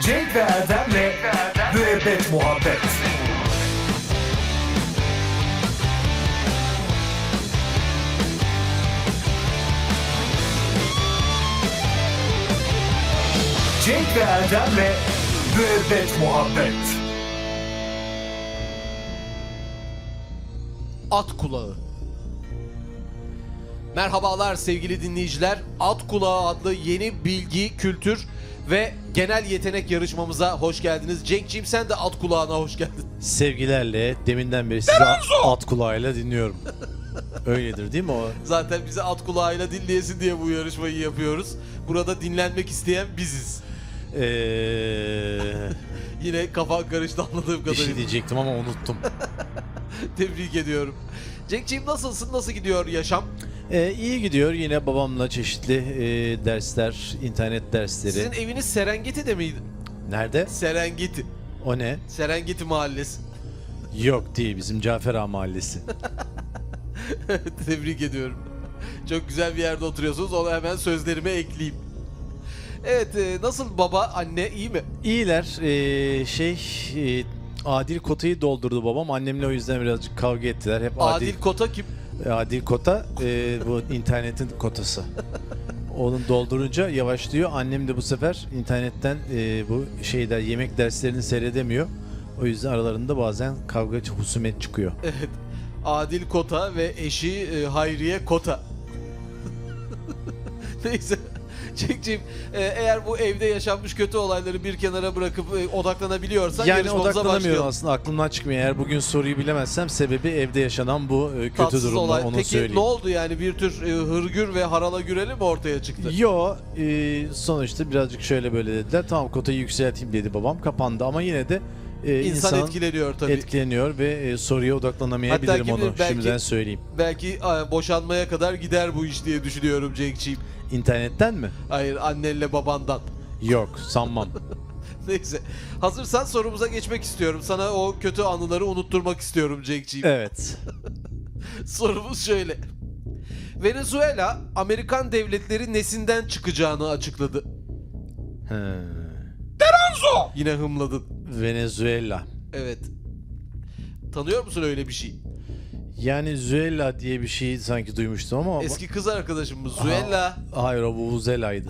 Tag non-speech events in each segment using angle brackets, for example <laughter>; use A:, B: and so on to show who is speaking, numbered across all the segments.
A: Cenk ve Erdem'le Müebbet Muhabbet Cenk ve Erdem'le Müebbet Muhabbet
B: At Kulağı. Merhabalar sevgili dinleyiciler. At Kulağı adlı yeni bilgi, kültür ve genel yetenek yarışmamıza hoş geldiniz. Cenk'ciğim sen de at kulağına hoş geldin. <laughs>
C: Sevgilerle deminden beri sizi at kulağıyla dinliyorum. Öyledir değil mi o?
B: Zaten bize at kulağıyla dinleyesin diye bu yarışmayı yapıyoruz. Burada dinlenmek isteyen biziz.
C: Ee,
B: Yine kafan karıştı anladığım
C: bir
B: kadarıyla.
C: şey diyecektim ama unuttum.
B: <laughs> Tebrik ediyorum. Cenk'ciğim nasılsın? Nasıl gidiyor yaşam?
C: Ee, iyi gidiyor yine babamla çeşitli e, dersler, internet dersleri.
B: Sizin eviniz Serengeti'de miydi?
C: Nerede?
B: Serengeti.
C: O ne?
B: Serengeti mahallesi.
C: Yok değil bizim Cafer Ağa mahallesi.
B: <laughs> Tebrik ediyorum. Çok güzel bir yerde oturuyorsunuz. Onu hemen sözlerime ekleyeyim. Evet, e, nasıl baba, anne iyi mi?
C: İyiler. ee, şey e, Adil Kota'yı doldurdu babam. Annemle o yüzden birazcık kavga ettiler. Hep
B: Adil,
C: Adil,
B: Kota kim? <laughs>
C: Adil Kota e, bu internetin kotası. Onun doldurunca yavaşlıyor. Annem de bu sefer internetten e, bu şeyler yemek derslerini seyredemiyor. O yüzden aralarında bazen kavga husumet çıkıyor.
B: Evet. Adil Kota ve eşi e, Hayriye Kota. <laughs> Neyse. Cenk'ciğim e, eğer bu evde yaşanmış kötü olayları bir kenara bırakıp e, odaklanabiliyorsan
C: yani
B: yarışmamıza
C: odaklanamıyorum
B: başlayalım.
C: aslında aklımdan çıkmıyor. Eğer bugün soruyu bilemezsem sebebi evde yaşanan bu e, kötü
B: Tatsız
C: durumda
B: olay.
C: onu
B: Peki
C: söyleyeyim.
B: ne oldu yani bir tür e, hırgür ve harala güreli mi ortaya çıktı?
C: Yo e, sonuçta birazcık şöyle böyle dediler. Tamam kotayı yükselteyim dedi babam kapandı ama yine de e,
B: İnsan,
C: insan,
B: etkileniyor tabii.
C: etkileniyor ve e, soruya
B: Hatta
C: odaklanamayabilirim
B: kim
C: onu
B: bilir belki-
C: şimdiden söyleyeyim.
B: Belki e, boşanmaya kadar gider bu iş diye düşünüyorum Cenk'ciğim.
C: İnternetten mi?
B: Hayır annenle babandan. <laughs>
C: Yok sanmam.
B: Neyse. Hazırsan sorumuza geçmek istiyorum. Sana o kötü anıları unutturmak istiyorum Cenk'ciğim.
C: evet.
B: <laughs> Sorumuz şöyle. Venezuela Amerikan devletleri nesinden çıkacağını açıkladı.
C: Hı.
B: Yine hımladın.
C: Venezuela.
B: Evet. Tanıyor musun öyle bir şey?
C: Yani Zuela diye bir şey sanki duymuştum ama
B: Eski kız arkadaşımız Zuella.
C: hayır o Vuvuzela'ydı.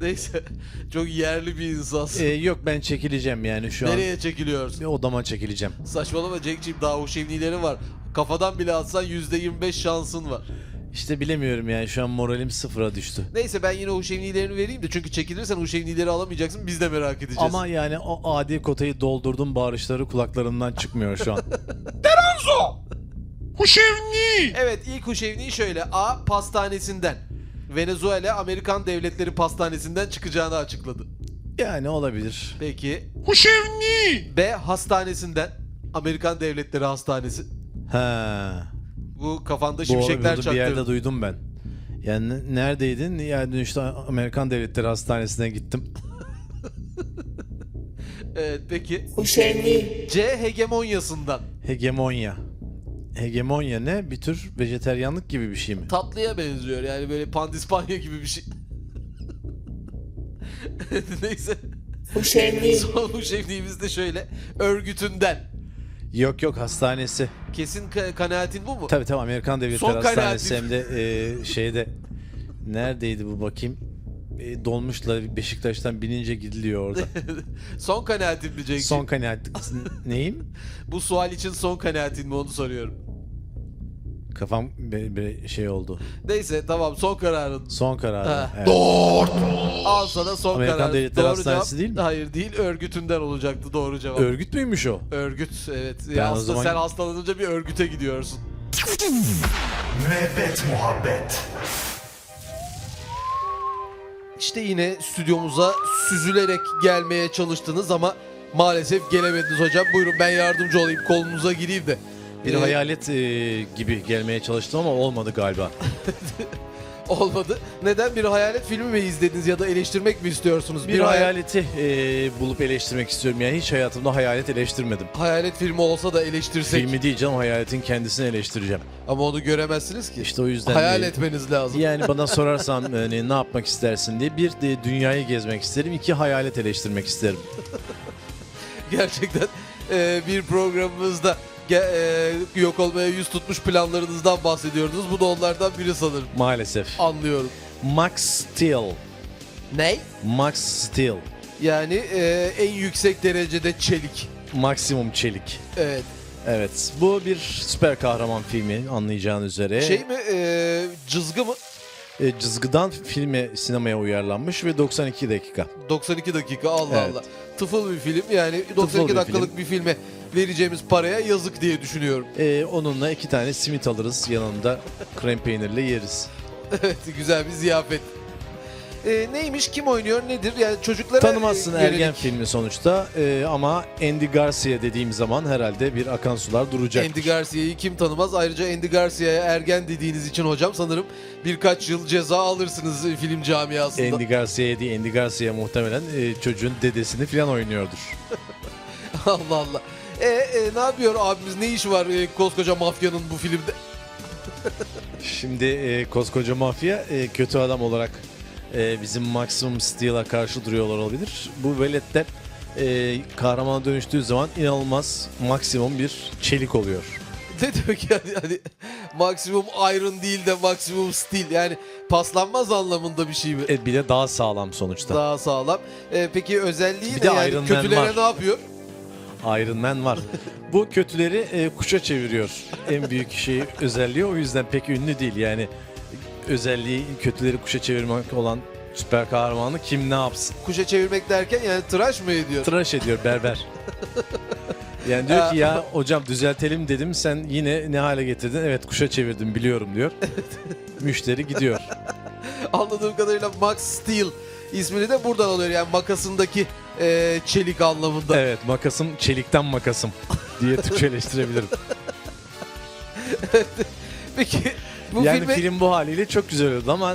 B: Neyse. <laughs> Çok yerli bir insansın.
C: E, yok ben çekileceğim yani şu
B: Nereye
C: an
B: çekiliyorsun?
C: bir odama çekileceğim.
B: Saçmalama Cenk'ciğim daha o şevnilerin var. Kafadan bile atsan %25 şansın var.
C: İşte bilemiyorum yani şu an moralim sıfıra düştü.
B: Neyse ben yine Huşevnilerini vereyim de çünkü çekilirsen Huşevnileri alamayacaksın biz de merak edeceğiz.
C: Ama yani o adil kotayı doldurdum bağırışları kulaklarımdan çıkmıyor şu
B: <laughs>
C: an.
B: Evet ilk Huşevni'yi şöyle A pastanesinden Venezuela Amerikan Devletleri Pastanesi'nden çıkacağını açıkladı.
C: yani olabilir.
B: Peki. Huşevni! B hastanesinden Amerikan Devletleri Hastanesi.
C: Ha.
B: Bu kafanda
C: Bu
B: şimşekler
C: arada bir yerde
B: çaktı.
C: duydum ben. Yani ne- neredeydin? Yani işte Amerikan Devletleri Hastanesi'ne gittim. <laughs>
B: Evet peki.
D: Huşevni,
B: C hegemonyasından.
C: Hegemonya. Hegemonya ne? Bir tür vejeteryanlık gibi bir şey mi?
B: tatlıya benziyor yani böyle pandispanya gibi bir şey. <laughs> Neyse
D: Huşevni,
B: son bu şefliğimiz de şöyle örgütünden.
C: Yok yok hastanesi.
B: Kesin ka- kanaatin bu mu?
C: Tabii tabii Amerikan Devletleri
B: Son
C: Hastanesi
B: kanaatim.
C: hem de e, şeyde neredeydi bu bakayım? E, dolmuşla Beşiktaş'tan binince
B: <laughs>
C: gidiliyor orada.
B: son kanaatin mi Cenk'ciğim?
C: Son kanaat neyim?
B: Bu sual için son kanaatin mi onu soruyorum.
C: Kafam bir, bir şey oldu.
B: Neyse tamam son kararın.
C: Son karar.
B: Ha.
C: Evet.
B: Al sana son
C: Amerikan
B: kararın.
C: Devletleri
B: Doğru
C: Hastanesi
B: cevap-
C: değil mi?
B: Hayır değil örgütünden olacaktı doğru cevap.
C: Örgüt müymüş o?
B: Örgüt evet.
C: Ben
B: Ya
C: o
B: hasta-
C: zaman-
B: Sen hastalanınca bir örgüte gidiyorsun.
A: Müebbet Muhabbet
B: İşte yine stüdyomuza süzülerek gelmeye çalıştınız ama maalesef gelemediniz hocam. Buyurun ben yardımcı olayım kolunuza gireyim de.
C: Bir
B: Ee,
C: hayalet e, gibi gelmeye çalıştım ama olmadı galiba.
B: Olmadı. Neden bir hayalet filmi mi izlediniz ya da eleştirmek mi istiyorsunuz?
C: Bir hayaleti e, bulup eleştirmek istiyorum. Yani hiç hayatımda hayalet eleştirmedim.
B: hayalet filmi olsa da eleştirsek
C: Filmi değil canım hayaletin kendisini eleştireceğim.
B: ama onu göremezsiniz ki.
C: İşte o yüzden
B: Hayal
C: e,
B: etmeniz lazım.
C: Yani bana sorarsan hani, ne yapmak istersin diye bir de dünyayı gezmek isterim, iki hayalet eleştirmek isterim.
B: Gerçekten e, bir programımızda ge- e, yok olmaya yüz tutmuş planlarınızdan bahsediyordunuz. Bu da onlardan biri sanırım.
C: Maalesef.
B: Anlıyorum.
C: Max Steel.
B: Ney?
C: Max Steel.
B: Yani e, en yüksek derecede çelik.
C: Maksimum çelik.
B: Evet.
C: Evet. Bu bir süper kahraman filmi anlayacağın üzere.
B: Şey mi? E, cızgı mı?
C: E, Cızgı'dan filme sinemaya uyarlanmış ve 92 dakika.
B: 92 dakika Allah
C: Evet.
B: Allah. Tıfıl bir film yani 92
C: bir
B: dakikalık bir filme vereceğimiz paraya yazık diye düşünüyorum. <laughs>
C: E, onunla iki tane simit alırız yanında krem peynirle yeriz.
B: Evet güzel bir ziyafet. E, neymiş kim oynuyor nedir yani çocuklara
C: Tanımazsın
B: e,
C: ergen
B: yönelik-
C: filmi sonuçta E, ama Andy Garcia dediğim zaman herhalde bir akan sular duracak.
B: Andy Garcia'yı kim tanımaz? Ayrıca Andy Garcia'ya ergen dediğiniz için hocam sanırım birkaç yıl ceza alırsınız e, film camiasında.
C: Andy Garcia'ya değil Andy Garcia muhtemelen e, çocuğun dedesini falan oynuyordur.
B: <laughs> Allah Allah. E, e, ne yapıyor abimiz? Ne işi var e, koskoca mafyanın bu filmde?
C: Şimdi e, koskoca mafya e, kötü adam olarak e, bizim Maximum Steel'a karşı duruyorlar olabilir. Bu veletler e, kahramana dönüştüğü zaman inanılmaz maksimum bir çelik oluyor.
B: Ne demek yani? Hani, maksimum iron değil de maksimum steel. Yani paslanmaz anlamında bir şey mi?
C: E, bir de daha sağlam sonuçta.
B: Daha sağlam. E, peki özelliği
C: Bir
B: ne?
C: de
B: Yani
C: Iron Man
B: kötülere
C: var.
B: ne yapıyor?
C: Iron Man var. Bu kötüleri e, kuşa çeviriyor. En büyük şey özelliği o yüzden pek ünlü değil. Yani özelliği kötüleri kuşa çevirmek olan süper kahramanı kim ne yapsın?
B: Kuşa çevirmek derken yani tıraş mı ediyor?
C: tıraş ediyor berber. Yani
B: <laughs>
C: diyor ki ya hocam düzeltelim dedim sen yine ne hale getirdin? Evet kuşa çevirdim biliyorum
B: <laughs>
C: diyor. Müşteri gidiyor.
B: Anladığım kadarıyla Max Steel ismini de buradan alıyor. Yani makasındaki e, çelik anlamında.
C: Evet makasım çelikten makasım
B: <laughs>
C: diye Türkçeleştirebilirim.
B: Peki bu
C: yani
B: filme
C: film bu haliyle çok güzel oldu ama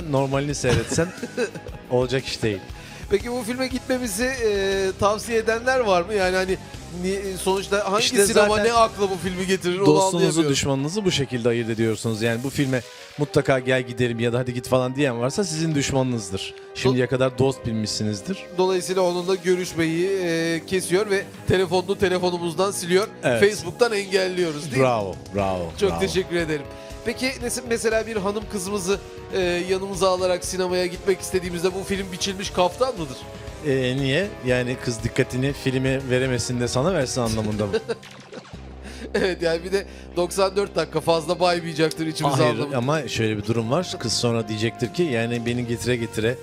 B: <laughs>
C: normalini seyretsen olacak iş değil.
B: peki bu filme gitmemizi e, tavsiye edenler var mı? Yani hani ni- sonuçta hangi
C: İşte
B: sinema
C: zaten
B: ne akla bu filmi getirir onu
C: Dostunuzu
B: anlayamıyorum.
C: düşmanınızı bu şekilde ayırt ediyorsunuz. Yani bu filme mutlaka gel gidelim ya da hadi git falan diyen varsa sizin düşmanınızdır. Şimdiye kadar dost bilmişsinizdir.
B: Dolayısıyla onunla görüşmeyi e, kesiyor ve telefonunu telefonumuzdan siliyor.
C: Evet.
B: Facebook'tan engelliyoruz değil mi?
C: Bravo, bravo.
B: Çok
C: bravo.
B: teşekkür ederim. Peki nes- mesela bir hanım kızımızı e, yanımıza alarak sinemaya gitmek istediğimizde bu film biçilmiş kaftan mıdır? <laughs>
C: Ee, niye? Yani kız dikkatini filme veremesin de sana versin
B: <laughs>
C: anlamında mı?
B: evet yani bir de 94 dakika fazla baymayacaktır E, içimize
C: Hayır
B: anlamında.
C: ama şöyle bir durum var. Kız sonra diyecektir ki yani beni getire getire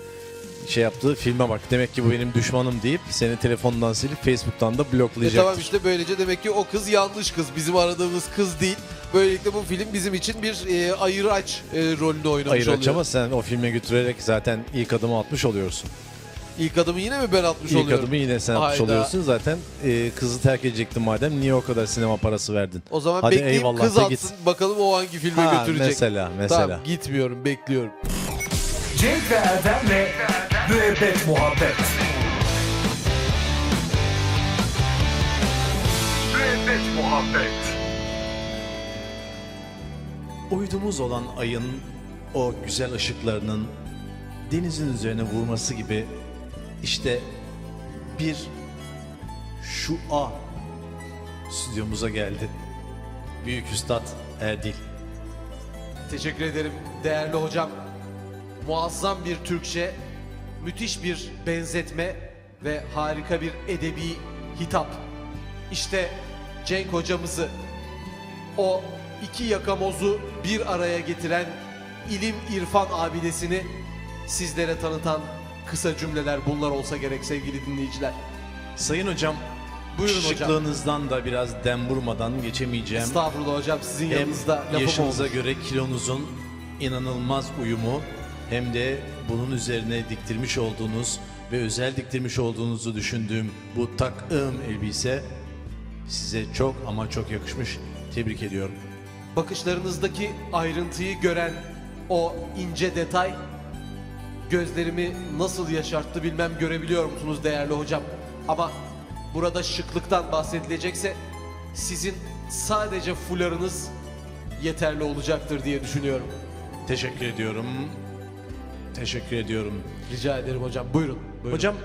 C: şey yaptığı filme bak. Demek ki bu benim düşmanım deyip seni telefondan silip Facebook'tan da
B: E
C: bloklayacaktır.
B: tamam işte böylece demek ki o kız yanlış kız. Bizim aradığımız kız değil. Böylelikle bu film bizim için bir e, ayıraç e, rolünü oynamış
C: Hayır
B: oluyor.
C: ama sen o filme götürerek zaten ilk adımı atmış oluyorsun.
B: İlk adımı yine mi ben atmış
C: ilk
B: oluyorum?
C: adımı yine sen atmış
B: Hayda.
C: oluyorsun. Zaten e, kızı terk edecektin madem niye o kadar sinema parası verdin?
B: O zaman
C: Hadi
B: bekleyeyim
C: eyvallah
B: kız
C: da
B: atsın
C: git.
B: bakalım o hangi filme
C: Ha,
B: götürecek.
C: mesela mesela.
B: Tamam gitmiyorum bekliyorum.
A: Cenk ve Erdem'le Müebbet Muhabbet Müebbet Muhabbet
C: Uydumuz olan ayın o güzel ışıklarının denizin üzerine vurması gibi işte bir şu a stüdyomuza geldi. Büyük Üstad Erdil.
B: Teşekkür ederim değerli hocam. Muazzam bir Türkçe, müthiş bir benzetme ve harika bir edebi hitap. İşte Cenk hocamızı, o iki yakamozu bir araya getiren ilim irfan abidesini sizlere tanıtan kısa cümleler bunlar olsa gerek sevgili dinleyiciler.
C: Sayın hocam,
B: Buyurun hocam.
C: şıklığınızdan da biraz dem vurmadan geçemeyeceğim.
B: Estağfurullah hocam sizin
C: Hem
B: yanınızda lafım oldu.
C: yaşınıza göre kilonuzun inanılmaz uyumu hem de bunun üzerine diktirmiş olduğunuz ve özel diktirmiş olduğunuzu düşündüğüm bu takım elbise size çok ama çok yakışmış. Tebrik ediyorum.
B: Bakışlarınızdaki ayrıntıyı gören o ince detay gözlerimi nasıl yaşarttı bilmem görebiliyor musunuz değerli hocam. Ama burada şıklıktan bahsedilecekse sizin sadece fularınız yeterli olacaktır diye düşünüyorum.
C: Teşekkür ediyorum. Teşekkür ediyorum.
B: Rica ederim hocam. Buyurun. buyurun.
C: Hocam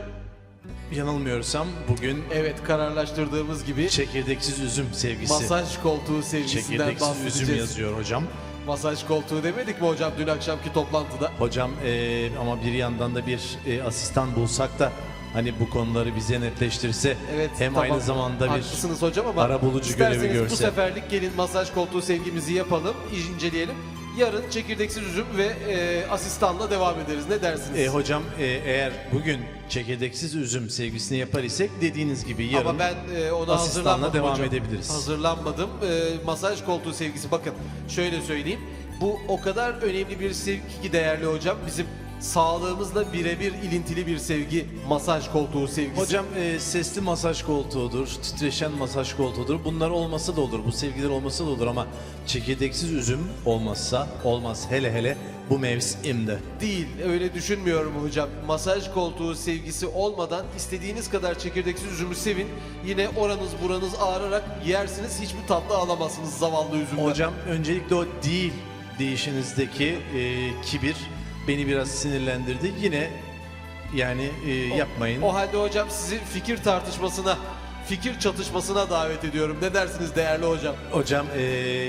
C: yanılmıyorsam bugün
B: evet kararlaştırdığımız gibi
C: çekirdeksiz üzüm sevgisi.
B: masaj koltuğu sevgisinden
C: çekirdeksiz üzüm
B: bahsedeceğiz.
C: yazıyor hocam.
B: Masaj koltuğu demedik mi hocam dün akşamki toplantıda?
C: Hocam e, ama bir yandan da bir e, asistan bulsak da hani bu konuları bize netleştirse
B: Evet.
C: hem
B: tamam.
C: aynı zamanda bir
B: Haklısınız hocam ama
C: ara bulucu görevi
B: isterseniz bu
C: görse.
B: seferlik gelin masaj koltuğu sevgimizi yapalım, inceleyelim. Yarın çekirdeksiz üzüm ve e, asistanla devam ederiz. Ne dersiniz?
C: E, hocam e, eğer bugün çekirdeksiz üzüm sevgisini yapar isek dediğiniz gibi yarın
B: Ama ben e, ona
C: asistanla
B: hazırlanmadım
C: devam
B: hocam.
C: edebiliriz.
B: Hazırlanmadım. E, masaj koltuğu sevgisi bakın şöyle söyleyeyim. Bu o kadar önemli bir sevgi ki değerli hocam. Bizim sağlığımızla birebir ilintili bir sevgi masaj koltuğu sevgisi.
C: Hocam e, sesli masaj koltuğudur, titreşen masaj koltuğudur. Bunlar olmasa da olur, bu sevgiler olmasa da olur ama çekirdeksiz üzüm olmazsa olmaz. Hele hele bu mevsimde.
B: değil. Öyle düşünmüyorum hocam. Masaj koltuğu sevgisi olmadan istediğiniz kadar çekirdeksiz üzümü sevin. Yine oranız buranız ağrarak yersiniz. Hiçbir tatlı alamazsınız zavallı üzümden.
C: Hocam öncelikle o değil değişinizdeki e, kibir beni biraz sinirlendirdi. Yine yani e, yapmayın.
B: O halde hocam sizi fikir tartışmasına, fikir çatışmasına davet ediyorum. Ne dersiniz değerli hocam?
C: Hocam e,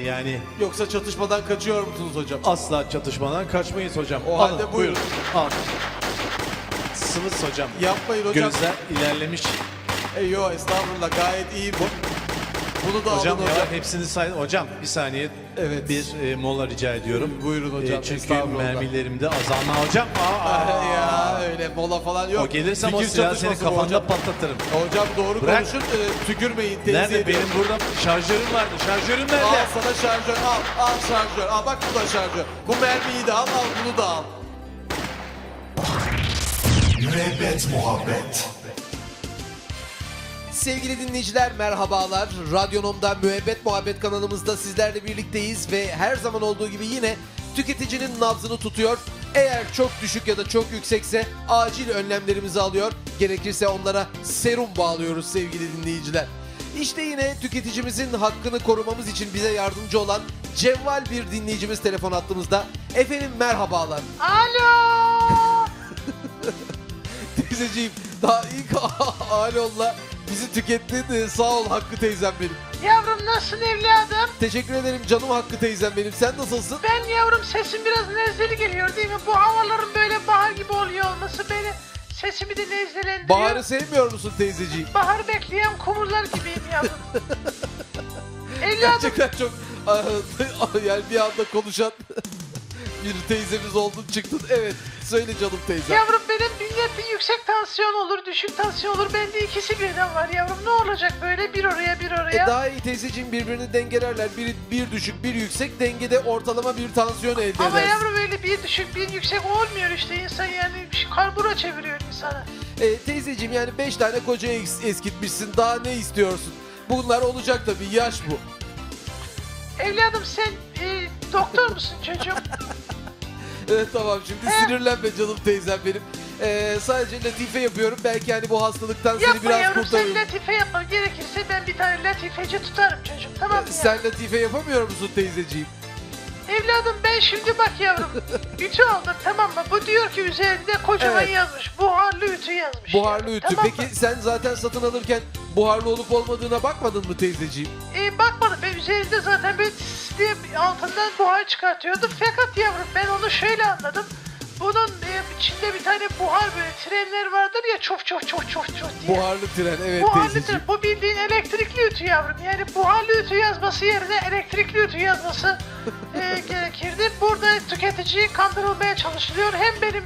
C: yani
B: Yoksa çatışmadan kaçıyor musunuz hocam?
C: asla çatışmadan kaçmayız hocam.
B: O halde buyurun.
C: Al. Sıvız hocam.
B: Yapmayın hocam.
C: Gözler ilerlemiş.
B: E, yo estağfurullah gayet iyi bu. Bunu da
C: Hocam
B: alın
C: ya
B: hocam.
C: hepsini say. Hocam bir saniye.
B: Evet.
C: Bir e, mola rica ediyorum.
B: Buyurun hocam,
C: E, çünkü
B: estağfurullah.
C: mermilerimde azalma hocam. Aa, aa.
B: Ah, ya öyle mola falan yok.
C: O gelirse o silahı seni
B: çatışması bu
C: kafanda
B: hocam.
C: patlatırım.
B: Hocam doğru
C: Bırak.
B: konuşun. e, tükürmeyin. Tenzih
C: Nerede?
B: ediyorum.
C: Benim burada şarjörüm vardı. Şarjörüm nerede?
B: Al sana şarjör. Al. Al şarjör. Al bak bu da şarjör. Bu mermiyi de al. Al bunu da al.
A: Müebbet muhabbet.
B: Sevgili dinleyiciler merhabalar. Radyonom'da Müebbet Muhabbet kanalımızda sizlerle birlikteyiz ve her zaman olduğu gibi yine tüketicinin nabzını tutuyor. Eğer çok düşük ya da çok yüksekse acil önlemlerimizi alıyor. Gerekirse onlara serum bağlıyoruz sevgili dinleyiciler. İşte yine tüketicimizin hakkını korumamız için bize yardımcı olan cevval bir dinleyicimiz telefon attığımızda. Efendim merhabalar. Teyzeciğim daha ilk <laughs> Alon'la bizi tükettin. Ee, Sağ ol Hakkı teyzem benim.
E: Yavrum nasılsın evladım?
B: Teşekkür ederim canım Hakkı teyzem benim. Sen nasılsın?
E: Ben yavrum sesim biraz nezleli geliyor değil mi? Bu havaların böyle bahar gibi oluyor olması beni sesimi de nezdelendiriyor.
B: Bahar'ı sevmiyor musun teyzeciğim?
E: Bahar bekleyen kumurlar gibiyim
B: <laughs>
E: yavrum. evladım
B: Gerçekten çok <laughs> Ah, yani bir anda konuşan <laughs> bir teyzemiz oldun çıktın. Evet söyle canım teyzem.
E: yavrum benim millet bir yüksek tansiyon olur düşük tansiyon olur. Bende ikisi birden var yavrum. Ne olacak böyle bir oraya bir
B: E,
E: oraya?
B: daha iyi teyzeciğim birbirini dengelerler. Biri bir düşük bir yüksek dengede ortalama bir tansiyon elde edersin.
E: Ama yavrum öyle bir düşük bir yüksek olmuyor işte insan yani bir şey karbura çeviriyor insana.
B: E, teyzeciğim yani 5 tane koca es- eskitmişsin daha ne istiyorsun? Bunlar olacak tabii yaş bu.
E: Evladım sen e, doktor musun çocuğum?
B: Evet tamam
E: Eh.
B: şimdi sinirlenme canım teyzem benim. Ee, sadece latife yapıyorum. Belki hani bu hastalıktan seni
E: Yapma
B: biraz
E: yavrum sen
B: kurtarırım.
E: latife yapma. Gerekirse ben bir tane latifeci tutarım çocuğum tamam mı? ya?
B: Ee, Sen latife yapamıyor musun teyzeciğim?
E: Evladım ben şimdi bak
B: <laughs>
E: yavrum. ütü aldım tamam mı? Bu diyor ki üzerinde kocaman
B: Evet.
E: yazmış. Buharlı ütü yazmış.
B: Buharlı
E: yavrum,
B: ütü.
E: tamam mı?
B: Peki sen zaten satın alırken buharlı olup olmadığına bakmadın mı teyzeciğim?
E: Ee, bakmadım ben üzerinde zaten böyle tıs diye bir altından buhar çıkartıyordum. Fakat yavrum ben onu şöyle anladım. Bunun e, içinde bir tane buhar böyle trenler vardır ya çok çok çok çok çok diye.
B: Buharlı tren evet
E: Buharlı
B: teyzeciğim.
E: tren. Bu bildiğin elektrikli ütü yavrum. Yani buharlı ütü yazması yerine elektrikli
B: <laughs>
E: ütü yazması e, gerekirdi. Burada tüketiciyi kandırılmaya çalışılıyor. Hem benim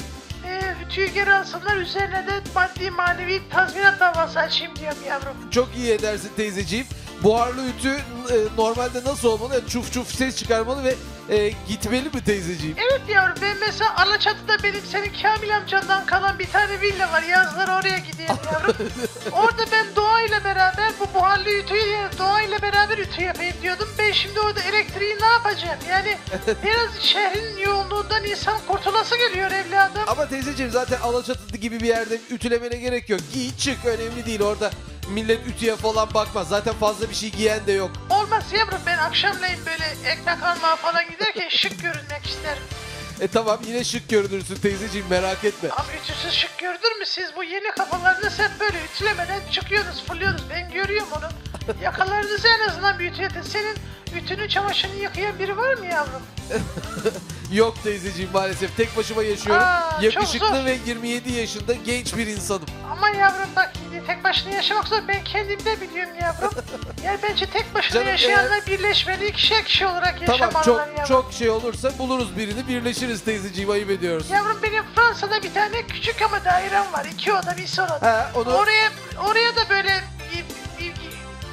E: e, ütüyü geri alsınlar üzerine de maddi manevi tazminat davası açayım diyorum yavrum.
B: Çok iyi edersin teyzeciğim. buharlı ütü e, normalde nasıl olmalı? Yani Çuf çuf ses çıkarmalı ve e, gitmeli mi teyzeciğim?
E: Evet yavrum ben mesela Alaçatı'da benim senin Kamil amcandan kalan bir tane villa var. Yazları oraya gideyim yavrum. orada ben doğayla beraber bu buharlı ütüyü ya- doğayla beraber ütü yapayım diyordum. Ben şimdi orada elektriği ne yapacağım? Yani biraz şehrin yoğunluğundan insan kurtulası geliyor evladım.
B: Ama teyzeciğim zaten Alaçatı gibi bir yerde ütülemene gerek yok. Giy çık önemli değil orada millet ütüye falan bakmaz. Zaten fazla bir şey giyen de yok.
E: Olmaz yavrum ben akşamleyin böyle ekmek almaya falan giderken şık görünmek isterim.
B: E tamam yine şık görünürsün teyzeciğim merak etme.
E: Abi ütüsüz şık gördün mü siz bu yeni kafalarınız hep böyle ütülemeden çıkıyorsunuz fırlıyorsunuz ben görüyorum
B: <laughs>
E: onu. Yakalarınızı en azından bir ütü edin. Senin ütünü çamaşırını yıkayan biri var mı yavrum?
B: Yok teyzeciğim maalesef tek başıma yaşıyorum.
E: Aa, çok
B: Yakışıklı
E: zor.
B: ve 27 yaşında genç bir insanım.
E: Ama yavrum bak tek başına yaşamak zor ben kendim de biliyorum yavrum.
B: <laughs>
E: Yani bence tek başına
B: Canım,
E: yaşayanlar birleşmeli kişi kişi olarak
B: Tamam
E: yaşamalılar
B: çok
E: yavrum.
B: çok şey olursa buluruz birini birleşiriz teyzeciğim ayıp ediyoruz.
E: Yavrum benim Fransa'da bir tane küçük ama dairem var. iki oda bir salon.
B: Ha, onu-
E: Oraya oraya da böyle bir, bir-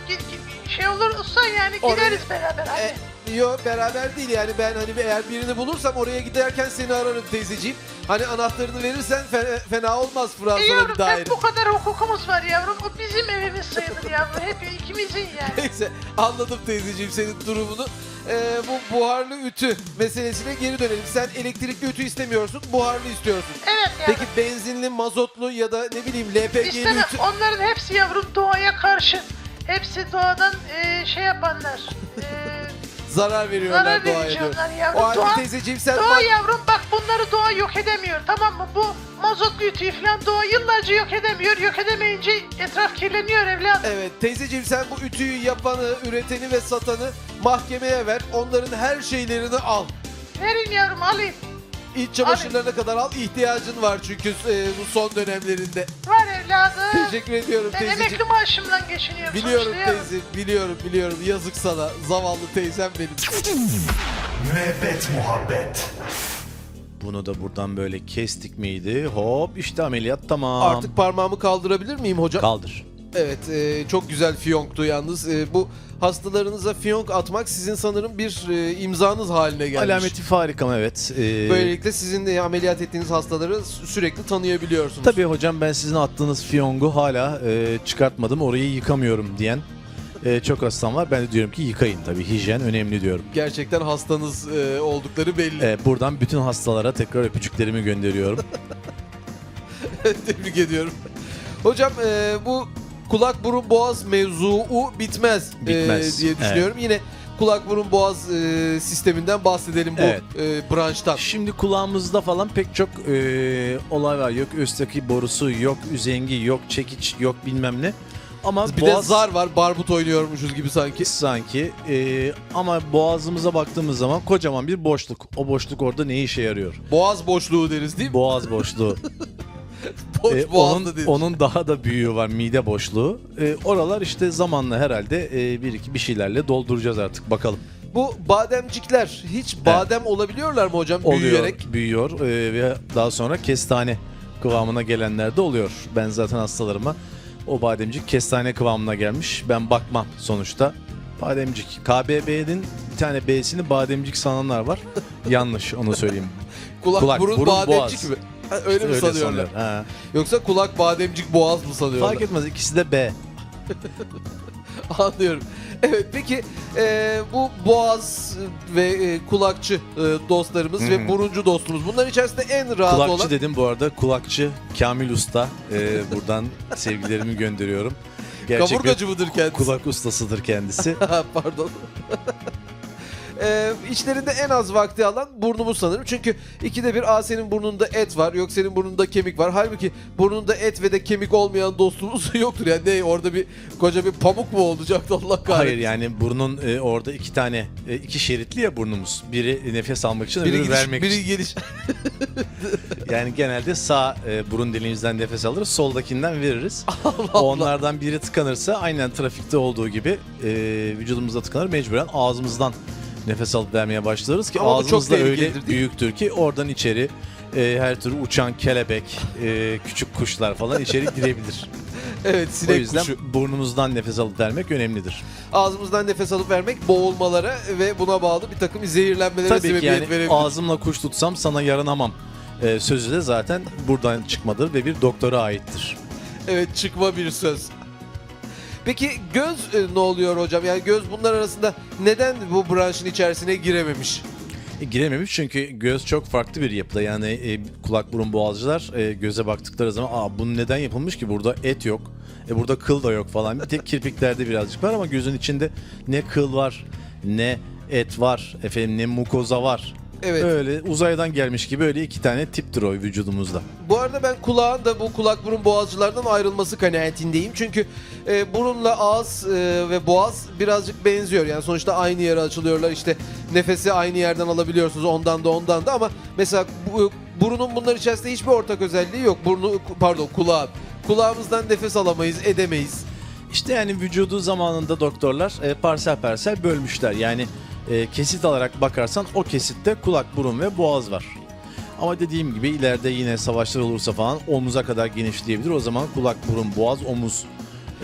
E: bir- bir- bir şey olursa yani
B: Oraya-
E: gideriz beraber. Hani.
B: E, yok beraber değil yani ben hani bir- eğer birini bulursam oraya giderken seni ararım teyzeciğim. Hani anahtarını verirsen fe- fena olmaz
E: E
B: Fransa'da
E: yavrum
B: bir
E: bak
B: daire.
E: bu kadar hukukumuz var yavrum. O bizim evimiz sayılır yavrum. Hep ikimizin yani.
B: <laughs> Neyse anladım teyzeciğim senin durumunu. E, bu buharlı ütü meselesine geri dönelim. Sen elektrikli ütü istemiyorsun, buharlı istiyorsun.
E: Evet yavrum.
B: Peki benzinli, mazotlu ya da ne bileyim LPG'li
E: İstemem.
B: ütü...
E: Onların hepsi yavrum doğaya karşı. Hepsi doğadan e, şey yapanlar.
B: <laughs>
E: E,
B: zarar veriyorlar
E: Zarar
B: doğaya
E: verici
B: diyor.
E: onlar yavrum.
B: O halde
E: Doğa-
B: teyzeciğim sen
E: Doğa
B: bak-
E: yavrum bak bunları doğa yok edemiyor tamam mı? Bu mazotlu ütüyü falan doğa yıllarca yok edemiyor. Yok edemeyince etraf kirleniyor evladım.
B: Evet teyzeciğim sen bu ütüyü yapanı, üreteni ve satanı mahkemeye ver. Onların her şeylerini al.
E: Verin yavrum alayım.
B: İç çamaşırlarına kadar al. İhtiyacın var çünkü e, bu son dönemlerinde.
E: Var evladım.
B: Teşekkür ediyorum
E: ben emekli
B: teyzeciğim.
E: maaşımdan geçiniyorum.
B: Biliyorum
E: sonuçta yavrum.
B: teyze, biliyorum biliyorum. Yazık sana. Zavallı teyzem benim.
A: Müebbet muhabbet.
C: Bunu da buradan böyle kestik miydi? Hop işte ameliyat tamam.
B: Artık parmağımı kaldırabilir miyim hocam?
C: kaldır.
B: Evet, e, çok güzel fiyonktu yalnız. E, bu hastalarınıza fiyonk atmak sizin sanırım bir e, imzanız haline gelmiş.
C: Alameti farikam evet. Ee,
B: Böylelikle sizin de ameliyat ettiğiniz hastaları sü- sürekli tanıyabiliyorsunuz.
C: Tabii hocam ben sizin attığınız fiyongu hala e, çıkartmadım orayı yıkamıyorum diyen e, çok hastam var. Ben de diyorum ki yıkayın tabii hijyen önemli diyorum.
B: Gerçekten hastanız e, oldukları belli.
C: E, buradan bütün hastalara tekrar öpücüklerimi gönderiyorum.
B: <laughs> Tebrik ediyorum. Hocam e, bu kulak burun boğaz mevzuu bitmez, e,
C: Bitmez,
B: diye düşünüyorum. Yine kulak burun boğaz e, sisteminden bahsedelim bu
C: Evet.
B: e, branştan.
C: Şimdi kulağımızda falan pek çok e, olay var. Yok östaki borusu, yok üzengi, yok çekiç, yok bilmem ne. Ama
B: Bir
C: boğaz
B: de zar var barbut oynuyormuşuz gibi sanki.
C: sanki e, ama boğazımıza baktığımız zaman kocaman bir boşluk. O boşluk orada ne işe yarıyor?
B: Boğaz boşluğu deriz değil mi?
C: Boğaz boşluğu.
B: <laughs> Boş
C: E,
B: boğaz da
C: onun,
B: deriz.
C: onun daha da büyüğü var mide boşluğu. E, oralar işte zamanla herhalde e, bir iki bir şeylerle dolduracağız artık bakalım.
B: Bu bademcikler hiç badem olabiliyorlar mı hocam
C: Oluyor,
B: büyüyerek?
C: büyüyor e, ve daha sonra kestane kıvamına gelenler de oluyor. Ben zaten hastalarıma o bademcik kestane kıvamına gelmiş. Ben bakmam sonuçta. Bademcik. KBB'nin bir tane B'sini bademcik sananlar var. <laughs> Yanlış onu söyleyeyim.
B: Kulak,
C: Kulak,
B: burun,
C: burun,
B: bademcik
C: boğaz.
B: mi? Ha, <laughs> öyle mi sanıyorlar?
C: sanıyor. Ha.
B: Yoksa kulak bademcik boğaz mı sanıyorlar?
C: Fark etmez ikisi de B.
B: <laughs> Anlıyorum. Evet peki e, bu boğaz ve e, kulakçı e, dostlarımız ve buruncu dostumuz bunların içerisinde en rahat
C: Kulakçı
B: olan
C: dedim bu arada. Kulakçı Kamil Usta. Ee, buradan sevgilerimi gönderiyorum. Gerçek bir
B: kaburgacı mıdır kendisi?
C: kulak ustasıdır kendisi.
B: Ha, Pardon. <laughs> Ee, içlerinde en az vakti alan burnumuz sanırım. Çünkü ikide bir a senin burnunda et var, yok senin burnunda kemik var. Halbuki burnunda et ve de kemik olmayan dostumuz <laughs> yoktur. Yani ne orada bir koca bir pamuk mu olacaktı Allah kahretsin.
C: Hayır yani burnun e, orada iki tane e, iki şeritli ya burnumuz. Biri nefes almak için,
B: Biri
C: öbürü
B: gidiş,
C: vermek
B: biri
C: için.
B: geliş. <laughs>
C: Yani genelde sağ e, burun deliğimizden nefes alırız,
B: <laughs>
C: soldakinden veririz. Onlardan biri tıkanırsa aynen trafikte olduğu gibi e, vücudumuzda tıkanır. Mecburen ağzımızdan nefes alıp vermeye başlarız ki
B: Ama bu çok
C: ağzımız da öyle
B: tehlikelidir, değil mi?
C: büyüktür ki oradan içeri e, her türlü uçan kelebek, e, küçük kuşlar falan içeri
B: <laughs>
C: girebilir.
B: Evet
C: o
B: sinek
C: yüzden
B: kuşu.
C: burnumuzdan nefes alıp vermek önemlidir.
B: Ağzımızdan nefes alıp vermek boğulmalara ve buna bağlı bir takım zehirlenmelere
C: Tabii ki
B: sebebiyet
C: yani
B: verebilir.
C: ağzımla kuş tutsam sana yaranamam e, sözü de zaten buradan çıkmadır ve bir doktora aittir.
B: Evet çıkma bir söz. Peki göz e, ne oluyor hocam? Yani göz bunlar arasında neden bu branşın içerisine girememiş?
C: E, Girememiş çünkü göz çok farklı bir yapıda. Yani e, kulak burun boğazcılar e, göze baktıkları zaman aa bunu neden yapılmış ki burada et yok. E, burada kıl da yok falan. Bir tek kirpiklerde birazcık var ama gözün içinde ne kıl var ne et var efendim ne mukoza var.
B: Evet.
C: Öyle uzaydan gelmiş gibi öyle iki tane tiptir o vücudumuzda.
B: Bu arada ben kulağın da bu kulak burun boğazcılardan ayrılması kanaatindeyim. Çünkü e, burunla ağız e, ve boğaz birazcık benziyor. Yani sonuçta aynı yere açılıyorlar. İşte nefesi aynı yerden alabiliyorsunuz ondan da ondan da ama mesela bu- burunun bunlar içerisinde hiçbir ortak özelliği yok. Burnu pardon kulağı. Kulağımızdan nefes alamayız, edemeyiz.
C: İşte yani vücudu zamanında doktorlar e, parsel parsel bölmüşler. Yani e, kesit alarak bakarsan o kesitte kulak, burun ve boğaz var. Ama dediğim gibi ileride yine savaşlar olursa falan omuza kadar genişleyebilir. O zaman kulak, burun, boğaz, omuz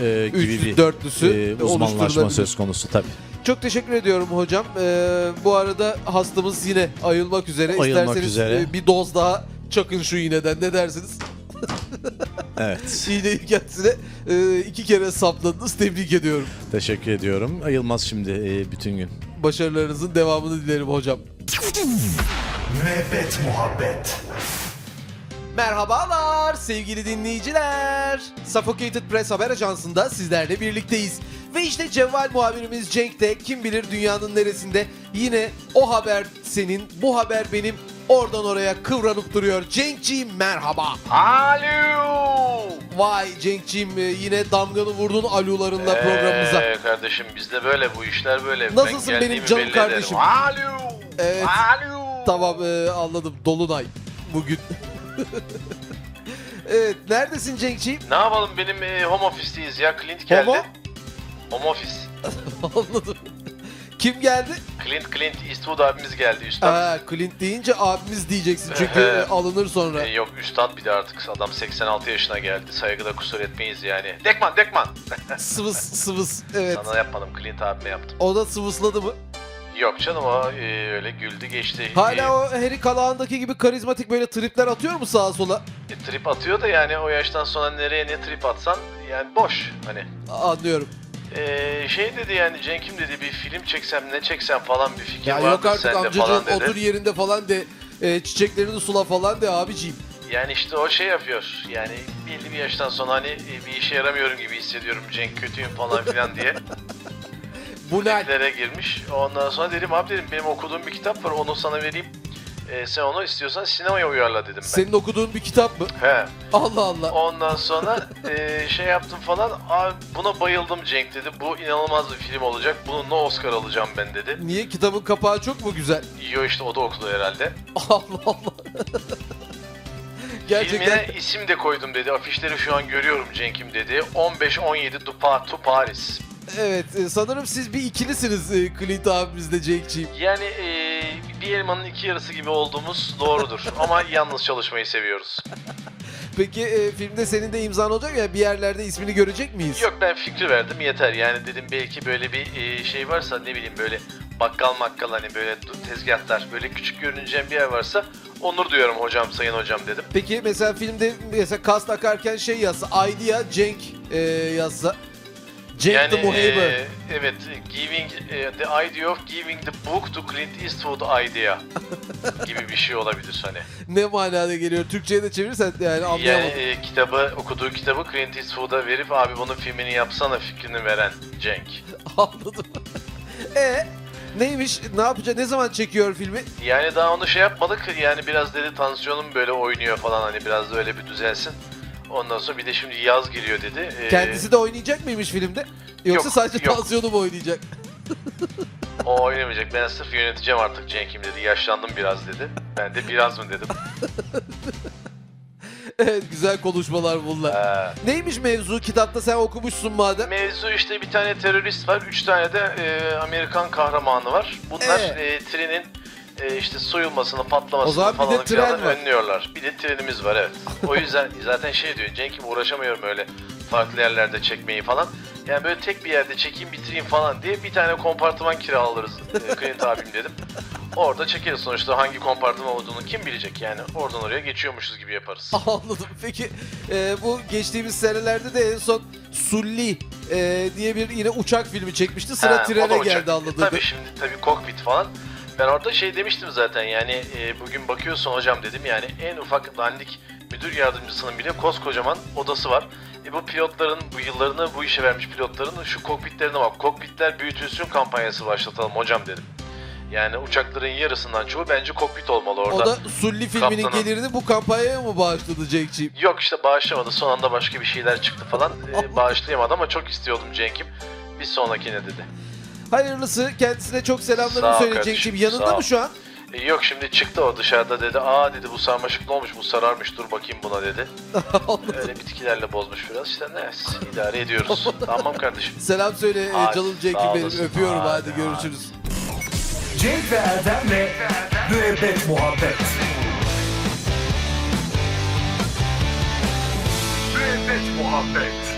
C: e, gibi
B: Üçlü,
C: bir e,
B: dörtlüsü
C: uzmanlaşma
B: oluşturulabilir.
C: söz konusu tabii.
B: Çok teşekkür ediyorum hocam. Ee, bu arada hastamız yine ayılmak üzere.
C: Ayılmak
B: İsterseniz
C: üzere.
B: e, bir doz daha çakın şu iğneden ne dersiniz?
C: Evet.
B: İğneyi kendisine e, iki kere sapladınız. Tebrik ediyorum.
C: Teşekkür ediyorum. Ayılmaz şimdi e, bütün gün.
B: Başarılarınızın devamını dilerim hocam.
A: Müebbet muhabbet.
B: Merhabalar sevgili dinleyiciler. Suffocated Press Haber Ajansı'nda sizlerle birlikteyiz. Ve işte Cevval muhabirimiz Cenk de kim bilir dünyanın neresinde yine o haber senin, bu haber benim oradan oraya kıvranıp duruyor. Cenk'ciğim merhaba.
F: Alo.
B: Vay Cenk'ciğim e, yine damganı vurdun alularınla programımıza.
F: Ee, kardeşim bizde böyle bu işler böyle.
B: Nasılsın
F: Ben
B: benim
F: geldiğimi
B: canım
F: belli ederim.
B: kardeşim?
F: Alo.
B: Evet.
F: Alo.
B: Tamam e, anladım Dolunay bugün. <laughs> evet neredesin Cenk'ciğim?
F: Ne yapalım benim e, home office'teyiz ya. Clint geldi.
B: Homo?
F: Home office.
B: <laughs> anladım. Kim geldi?
F: Clint Clint Eastwood abimiz geldi üstad.
B: Aa, Clint deyince abimiz diyeceksin çünkü
F: Ehe.
B: e, alınır sonra.
F: E, yok üstad bir de artık adam 86 yaşına geldi. Saygıda kusur etmeyiz yani. Dekman Dekman.
B: Sıvıs sıvıs evet.
F: Sana yapmadım Clint abime yaptım.
B: O da sıvısladı mı?
F: Yok canım o e, öyle güldü geçti.
B: Hala o Harry Kalağan'daki gibi karizmatik böyle tripler atıyor mu sağa sola?
F: E, trip atıyor da yani o yaştan sonra nereye ne trip atsan yani boş. Hani
B: Anlıyorum.
F: Ee, şey dedi yani Cenk'im dedi bir film çeksem ne çeksem falan bir fikir
B: Ya
F: var
B: yok
F: mı
B: artık
F: sende falan
B: amcacığım
F: dedi.
B: otur yerinde falan de e, çiçeklerini sula falan de abiciğim.
F: Yani işte o şey yapıyor yani belli bir yaştan sonra hani e, bir işe yaramıyorum gibi hissediyorum Cenk kötüyüm falan filan diye
B: Bu ne?
F: dillere girmiş. Ondan sonra dedim abi dedim benim okuduğum bir kitap var onu sana vereyim. Ee, sen onu istiyorsan sinemaya uyarla dedim ben.
B: Senin okuduğun bir kitap mı?
F: He.
B: Allah Allah.
F: Ondan sonra e, şey yaptım falan. Abi buna bayıldım Cenk dedi. Bu inanılmaz bir film olacak. Bununla Oscar alacağım ben dedi.
B: Niye kitabın kapağı çok mu güzel?
F: Yo işte o da okudu herhalde.
B: Allah Allah. Gerçekten
F: Filmine isim de koydum dedi. Afişleri şu an görüyorum Cenk'im dedi. 15-17 Dupa to Paris.
B: evet e, sanırım siz bir ikilisiniz e, Clint abimizle Cenk'ciğim.
F: Yani eee, bir elmanın iki yarısı gibi olduğumuz doğrudur. Ama yalnız çalışmayı seviyoruz.
B: Peki e, filmde senin de imzan olacak ya bir yerlerde ismini görecek miyiz?
F: Yok ben fikri verdim yeter. Yani dedim belki böyle bir eee, şey varsa ne bileyim böyle bakkal makkal hani böyle du- tezgahlar böyle küçük görüneceğim bir yer varsa onur duyuyorum hocam sayın hocam dedim.
B: Peki mesela filmde mesela kast akarken şey yazsa Idea Cenk e, yazsa Cenk the Muhaber.
F: eee, e, evet giving eee, e, the idea of giving the book to Clint Eastwood idea gibi bir şey olabilir hani.
B: Ne manada geliyor? Türkçe'ye de çevirirsen yani
F: Yani
B: anlayamadım.
F: e, kitabı okuduğu kitabı Clint Eastwood'a verip abi bunun filmini yapsana fikrini veren Cenk.
B: <laughs> Anladım. e neymiş? Ne yapacak? Ne zaman çekiyor filmi?
F: Yani daha onu şey yapmadık yani biraz dedi tansiyonum böyle oynuyor falan hani biraz da öyle bir düzelsin. Ondan sonra bir de şimdi yaz giriyor dedi. E,
B: Kendisi de oynayacak mıymış filmde? Yoksa
F: Yok,
B: sadece
F: yok.
B: tansiyonu mu oynayacak?
F: O oynamayacak ben sırf yöneteceğim artık Cenk'im dedi yaşlandım biraz dedi. Ben de biraz mı dedim.
B: evet güzel konuşmalar bunlar.
F: Ha.
B: Neymiş mevzu? Kitapta sen okumuşsun madem.
F: Mevzu işte bir tane terörist var, üç tane de e, Amerikan kahramanı var. Bunlar
B: Ee?
F: e, trenin
C: e, işte soyulmasını, patlamasını
B: O zaman bir de tren
C: falan filan
B: var.
C: önlüyorlar. Bir de trenimiz var evet.
B: <laughs>
C: O yüzden zaten şey diyor Cenk'im uğraşamıyorum öyle farklı yerlerde çekmeyi falan. Yani böyle tek bir yerde çekeyim bitireyim falan diye bir tane kompartıman kiralarız
B: <laughs>
C: e, Clint abim dedim. Orada çekeriz sonuçta hangi kompartıman olduğunu kim bilecek yani. Oradan oraya geçiyormuşuz gibi yaparız.
B: <laughs> Anladım. Peki e, bu geçtiğimiz senelerde de en son Sulli e, diye bir yine uçak filmi çekmişti. Sıra
C: Ha, o da
B: trene
C: uçak.
B: geldi anladığım.
C: Tabii şimdi tabii kokpit falan. Ben orada şey demiştim zaten yani e, bugün bakıyorsun hocam dedim yani en ufak dandik müdür yardımcısının bile koskocaman odası var. E, bu pilotların bu yıllarını bu işe vermiş pilotların şu kokpitlerine bak kokpitler büyütülsün kampanyası başlatalım hocam dedim. Yani uçakların yarısından çoğu bence kokpit olmalı orada.
B: O da Sulli filminin
C: Kaptanın-
B: gelirini bu kampanyaya mı bağışladı Cenk'ciğim?
C: Yok işte bağışlamadı. Son anda başka bir şeyler çıktı falan. E, bağışlayamadı ama çok istiyordum Cenk'im. Bir sonrakine dedi.
B: Hayırlısı kendisine çok
C: Sağ
B: selamlarımı
C: ol
B: söyle
C: kardeşim,
B: Cenk'ciğim.
C: sağ
B: Yanında
C: ol.
B: mı şu an?
C: E, yok şimdi çıktı o dışarıda dedi. Aa dedi bu sarmaşık ne olmuş bu sararmış dur bakayım buna dedi. Öyle bitkilerle bozmuş biraz işte neyse idare ediyoruz. tamam kardeşim.
B: Selam söyle e,
C: Hadi,
B: canım
C: sağ
B: Cenk'im benim.
C: olasın.
B: Öpüyorum hadi,
C: Hadi,
B: görüşürüz.
A: Cenk ve Erdem'le müebbet muhabbet. Müebbet muhabbet.